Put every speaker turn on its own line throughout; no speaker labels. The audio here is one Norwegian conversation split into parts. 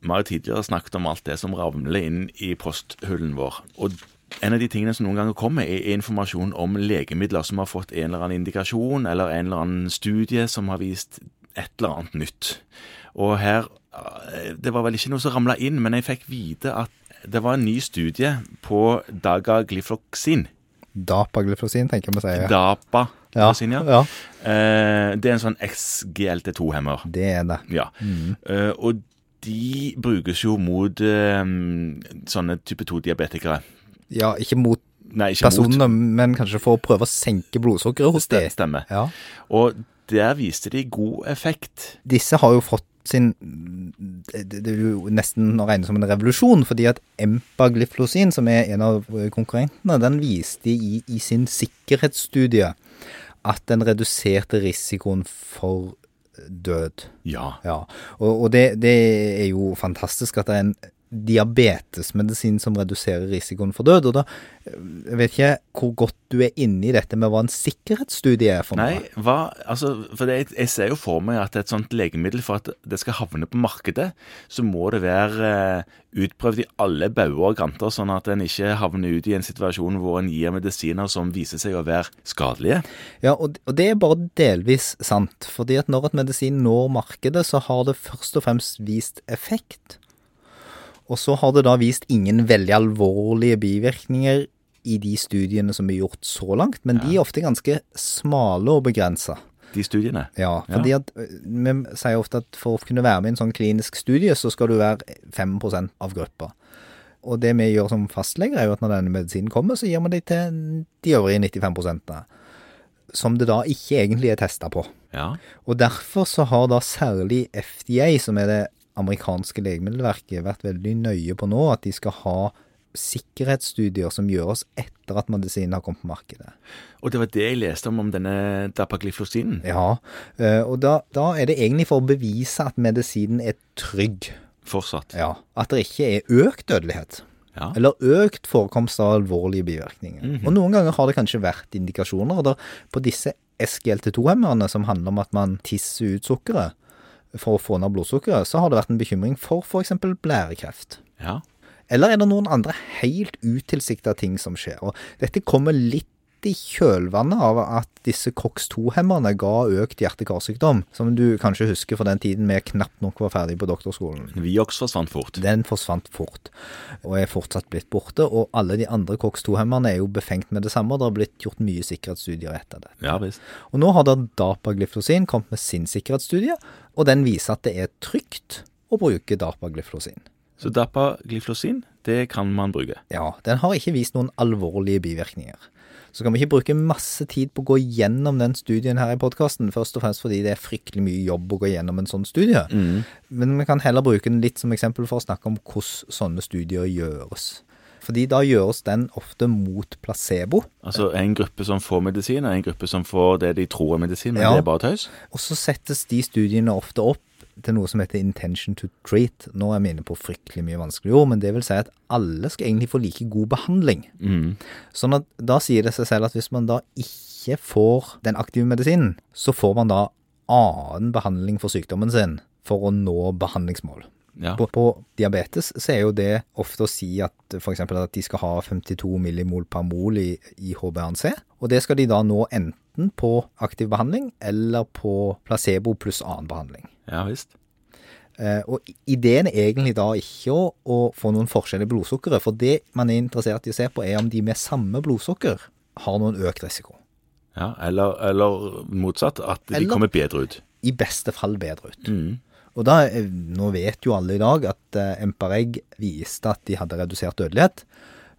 Vi har jo tidligere snakket om alt det som ravler inn i posthullen vår. Og en av de tingene som noen ganger kommer, er informasjon om legemidler som har fått en eller annen indikasjon, eller en eller annen studie som har vist et eller annet nytt. Og her eh, Det var vel ikke noe som ramla inn, men jeg fikk vite at det var en ny studie på dagaglifloksin.
Dapaglyfrosin, tenker jeg vi sier.
Dapa.
Ja,
glifloksin, ja.
ja,
Eh, det er en sånn XGLT2-hemmer.
det er det.
Ja. Eh, og de brukes jo mot eh, sånne type 2-diabetikere.
Ja, ikke mot
Nei, ikke mot.
personene, men kanskje for å prøve å senke blodsukkeret hos
Det
dem.
stemmer.
Ja.
Og der viste de god effekt.
Disse har jo fått sin Det det er jo nesten å regne som en revolusjon, fordi at empagliflosin, som er en av konkurrentene, den viste i, i sin sikkerhetsstudie at den reduserte risikoen for død.
Ja.
Ja, og, og det, det er jo fantastisk at det er en diabetesmedisin som reduserer risikoen for død. Og da jeg vet ikke hvor godt du er inne i dette med hva en sikkerhetsstudie er for
Nei,
noe.
hva Altså, for det, jeg ser jo for meg at et sånt legemiddel, for at det skal havne på markedet, så må det være eh, utprøvd i alle bauger og kanter, sånn at en ikke havner ut i en situasjon hvor en gir medisiner som viser seg å være skadelige.
Ja, og, og det er bare delvis sant. fordi at når et medisin når markedet, så har det først og fremst vist effekt. Og så har det da vist ingen veldig alvorlige bivirkninger i de studiene som er gjort så langt, men de er ofte ganske smale og begrensa.
De studiene.
Ja, fordi at ø, vi sier ofte at for å kunne være med i en sånn klinisk studie, så skal du være 5 av gruppa. Og det vi gjør som fastleger, er jo at når denne medisinen kommer, så gir vi det til de øvrige 95 som det da ikke egentlig er testa på.
Ja.
Og derfor så har da særlig FDA, som er det amerikanske legemiddelverket, vært veldig nøye på nå at de skal ha sikkerhetsstudier som gjøres etter at medisinen har kommet på markedet.
Og det var det jeg leste om om denne dapagliflosinen.
Ja, eh, og da, da er det egentlig for å bevise at medisinen er trygg.
Fortsatt.
Ja. At det ikke er økt dødelighet.
Ja.
Eller økt forekomst av alvorlige bivirkninger. Og noen ganger har det kanskje vært indikasjoner. Og der, på disse SGLT2-hemmerne, som handler om at man tisser ut sukkeret for å få ned blodsukkeret, så har det vært en bekymring for f.eks. blærekreft.
Ja.
Eller er det noen andre helt utilsikta ting som skjer? Og dette kommer litt i kjølvannet av at disse COX-2-hemmerne ga økt hjerte-karsykdom, som du kanskje husker fra den tiden vi knapt nok var ferdig på doktorskolen.
Vioxx forsvant fort.
Den forsvant fort, og er fortsatt blitt borte. Og alle de andre COX-2-hemmerne er jo befengt med det samme, og det har blitt gjort mye sikkerhetsstudier etter det.
Ja visst.
Og nå har da dapagliflosin kommet med sin sikkerhetsstudie, og den viser at det er trygt å bruke dapagliflosin.
Så dapagliflosin, det kan man bruke.
Ja, den har ikke vist noen alvorlige bivirkninger. Så kan vi ikke bruke masse tid på å gå gjennom den studien her i podkasten, først og fremst fordi det er fryktelig mye jobb å gå gjennom en sånn studie. Men vi kan heller bruke den litt som eksempel for å snakke om hvordan sånne studier gjøres. Fordi da gjøres den ofte mot placebo.
Altså en gruppe som får medisin, og en gruppe som får det de tror er medisin, men
Ja.
det er bare tøys.
Og så settes de studiene ofte opp til noe som heter intention to treat. Nå er vi inne på fryktelig mye vanskelige ord, men det vil si at alle skal egentlig få like god behandling. Sånn at da sier det seg selv at hvis man da ikke får den aktive medisinen, så får man da annen behandling for sykdommen sin for å nå behandlingsmål.
Ja.
På, på diabetes så er jo det ofte å si at f.eks. at de skal ha 52 millimol per mol i, i HbA1c, og det skal de da nå enten på aktiv behandling eller på placebo pluss annen behandling.
ja visst.
Eh, og ideen er egentlig da ikke å, å få noen forskjell i blodsukkeret, for det man er interessert i å se på er om de med samme blodsukker har noen økt risiko.
Ja, eller, eller motsatt, at de
Eller-
kommer bedre ut. Mm.
i beste fall bedre ut. Og da, eh, nå vet jo alle i dag at eh, Empareg viste at de hadde redusert dødelighet.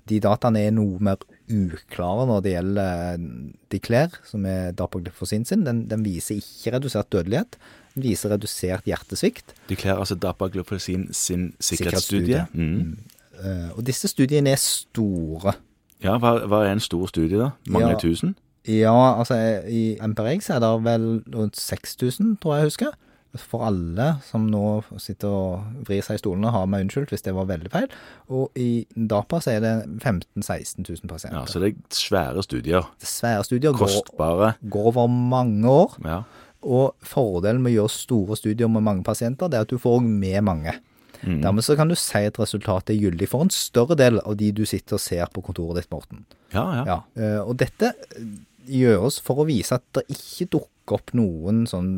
De dataene er noe mer uklare når det gjelder eh, Declare, som er dapagliflosin sin. Den, den viser ikke redusert dødelighet. Den viser redusert hjertesvikt.
De kler altså dapagliflosin sin sikkerhetsstudie. Mm.
Sikkerhetsstudie. Eh, Og disse studiene er store.
Ja, hva, hva er en stor studie, da? Mange
Ja.
tusen?
Ja, altså eh, i Empareg så er det vel rundt 6000, tror jeg jeg husker. For alle som nå sitter og vrir seg i stolene, har meg unnskyldt hvis det var veldig feil. Og i DAPA så er det 15 000-16 000
Ja,
pasienter.
så det er svære studier.
Svære studier går,
Kostbare.
går over mange år.
Ja.
Og fordelen med å gjøre store studier med mange pasienter, det er at du får med mange. Dermed så kan du si at resultatet er gyldig for en større del av de du sitter og ser på kontoret ditt, Morten.
Ja, ja.
Ja, eh, og dette gjøres for å vise at det ikke dukker opp noen sånn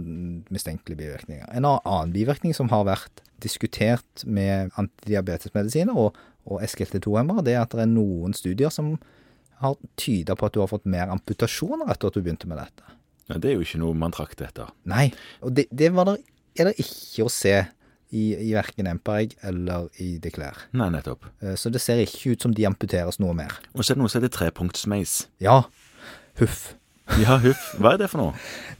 mistenkelige bivirkninger. En a- annen bivirkning som har vært diskutert med antidiabetesmedisiner og, og SGLT2-hemmere, det er at det er noen studier som har tyda på at du har fått mer amputasjoner etter at du begynte med dette.
Nei, Det er jo ikke noe man trakter etter.
Nei, og det, det var der, er det ikke å se i, i verken Empereg eller i Declare.
Nei, nettopp.
Eh, Så det ser ikke ut som de amputeres noe mer.
Og så er det noe som heter trepunktsmeis.
Ja, huff.
Ja, huff. Hva er det for noe?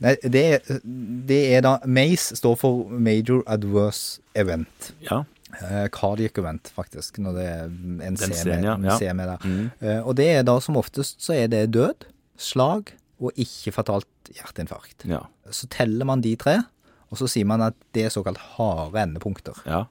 Nei, det, er- det er da MACE står for Major Adverse Event.
Ja.
Eh, cardiac event, faktisk, når det er en C
C-en,
med,
ja,
en
ja. Mm.
C med der. Eh, og det er da som oftest så er det død, slag og ikke fatalt hjerteinfarkt.
Ja.
Så teller man de tre, og så sier man at det er såkalt harde endepunkter.
ja.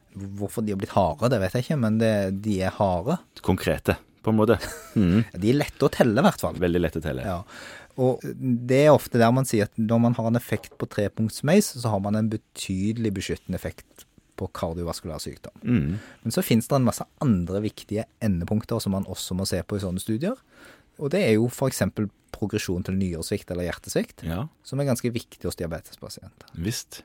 Hvorfor de har blitt harde, det vet jeg ikke, men det, de er harde.
Konkrete, på en måte. Mm.
De er lette å telle, i hvert fall.
Veldig lett å telle.
Ja. Og det er ofte der man sier at når man har en effekt på trepunktsmeis, så har man en betydelig beskyttende effekt på kardiovaskulær sykdom. Men så finnes det en masse andre viktige endepunkter som man også må se på i sånne studier. Og det er jo f.eks. progresjon til nyresvikt eller hjertesvikt,
Ja,
som er ganske viktig hos diabetespasienter.
visst.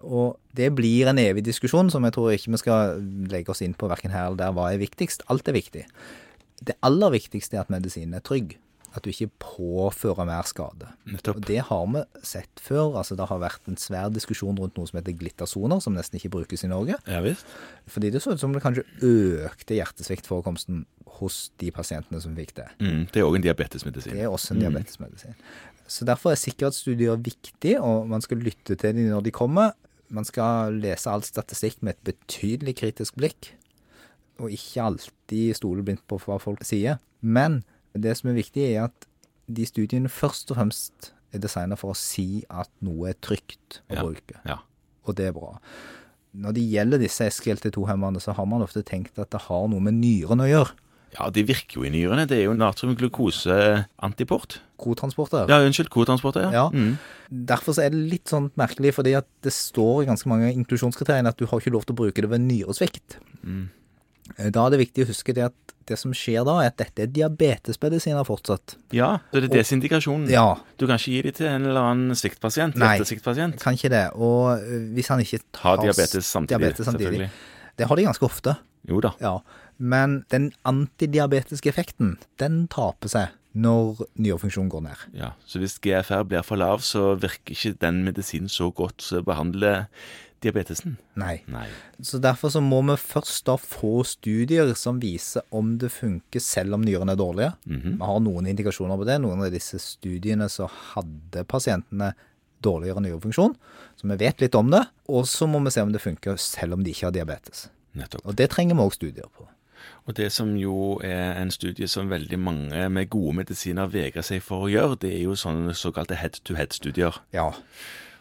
Og det blir en evig diskusjon som jeg tror ikke vi skal legge oss inn på verken her eller der. Hva er viktigst? Alt er viktig. Det aller viktigste er at medisinen er trygg. At du ikke påfører mer skade.
Nettopp.
Og det har vi sett før. altså Det har vært en svær diskusjon rundt noe som heter glittersoner, som nesten ikke brukes i Norge.
Ja visst.
Fordi det så ut som det kanskje økte hjertesviktforekomsten hos de pasientene som fikk det.
Mm, det er òg en diabetesmedisin.
Det er også en diabetesmedisin. Så derfor er sikkerhetsstudier viktig, og man skal lytte til dem når de kommer. Man skal lese all statistikk med et betydelig kritisk blikk, og ikke alltid stole blindt på hva folk sier. Men det som er viktig, er at de studiene først og fremst er designa for å si at noe er trygt å
Ja.
bruke
Ja.
og det er bra. Når det gjelder disse SGLT2-hemmerne, så har man ofte tenkt at det har noe med nyrene å gjøre.
ja, de virker jo i nyrene. Det er jo natriumglukoseantiport.
Kotransporter.
Ja, unnskyld, kotransporter. Ja. Mm.
Ja. Derfor så er det litt sånn merkelig, fordi at det står i ganske mange inklusjonskriterier at du har ikke lov til å bruke det ved nyresvikt.
Mm.
Eh, Da er det viktig å huske det at det som skjer da, er at dette er diabetesmedisiner fortsatt.
ja. Så det er desindikasjonen.
Ja,
Du kan ikke gi dem til en eller annen sviktpasient.
Nei.
Hjertesviktpasient.
kan ikke det. Og øh, hvis han ikke
Ha
tar s-
diabetes samtidig.
diabetes samtidig.
Selvfølgelig.
Det har de ganske ofte.
Jo da.
Ja, men den antidiabetiske effekten, den taper seg når nyrefunksjonen går ned.
Ja. Så hvis GFR blir for lav, så virker ikke den medisinen så godt som behandler diabetesen.
Nei.
Nei.
Så derfor så må vi først da få studier som viser om det funker selv om nyrene er dårlige. Vi har noen indikasjoner på det. Noen av disse studiene så hadde pasientene dårligere nyrefunksjon, så vi vet litt om det. Og så må vi se om det funker selv om de ikke har diabetes.
Nettopp.
Og det trenger vi òg studier på.
Og det som jo er en studie som veldig mange med gode medisiner vegrer seg for å gjøre, det er jo sånne såkalte head-to-head-studier.
Ja.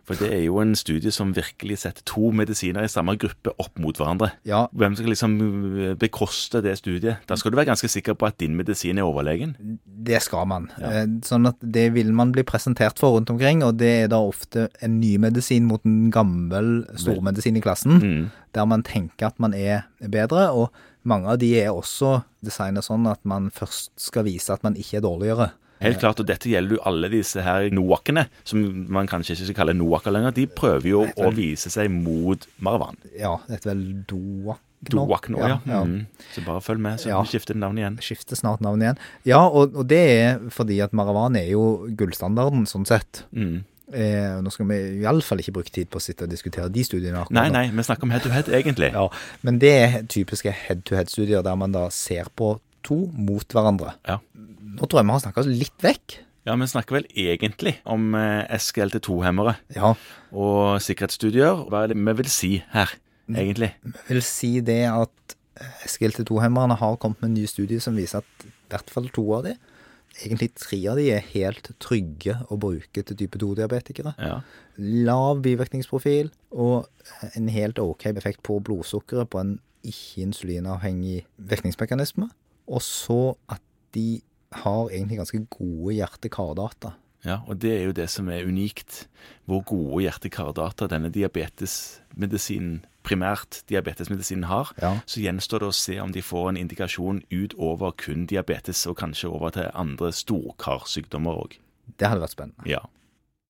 For det er jo en studie som virkelig setter to medisiner i samme gruppe opp mot hverandre.
ja.
Hvem skal liksom øh, bekoste det studiet? Da skal du være ganske sikker på at din medisin er overlegen.
Det skal man. Eh, Sånn at det vil man bli presentert for rundt omkring, og det er da ofte en ny medisin mot en gammel stormedisin i klassen,
Mm.
der man tenker at man er bedre, og mange av de er også designet sånn at man først skal vise at man ikke er dårligere.
Helt klart, og dette gjelder jo alle disse her noakene, som man kanskje ikke skal kalle noaker lenger. De prøver jo å vise seg mot Marwan.
Ja, det heter vel Doak nå?
Doak nå, ja.
ja.
Mm. Så bare følg med, så
Ja.
vi skifter navn igjen.
Skifter snart navn igjen. Ja, og, og det er fordi at Maravan er jo gullstandarden, sånn sett.
Mm.
Eh, nå skal vi iallfall ikke bruke tid på å sitte og diskutere de studiene. akkurat
Nei,
nå.
nei, vi snakker om head-to-head, egentlig.
Ja, men det er typiske head-to-head-studier der man da ser på to mot hverandre.
Ja.
Nå tror jeg vi har snakka oss litt vekk.
Ja, vi snakker vel egentlig om eh, SGLT2-hemmere
Ja,
og sikkerhetsstudier. Hva er det vi vil si her,
Mm.
egentlig?
vil si det at eh, SGLT2-hemmerne har kommet med nye studier som viser at i hvert fall to av de, egentlig tre av de, er helt trygge å bruke til type 2-diabetikere.
Ja.
Lav bivirkningsprofil og en helt ok effekt på blodsukkeret på en ikke-insulinavhengig virkningsmekanisme. Og så at de har egentlig ganske gode hjerte-kardata.
ja, og det er jo det som er unikt. Hvor gode hjerte-kardata denne diabetesmedisinen primært diabetesmedisinen har.
Ja.
Så gjenstår det å se om de får en indikasjon utover kun diabetes, og kanskje over til andre storkarsykdommer òg.
Det hadde vært spennende.
Ja.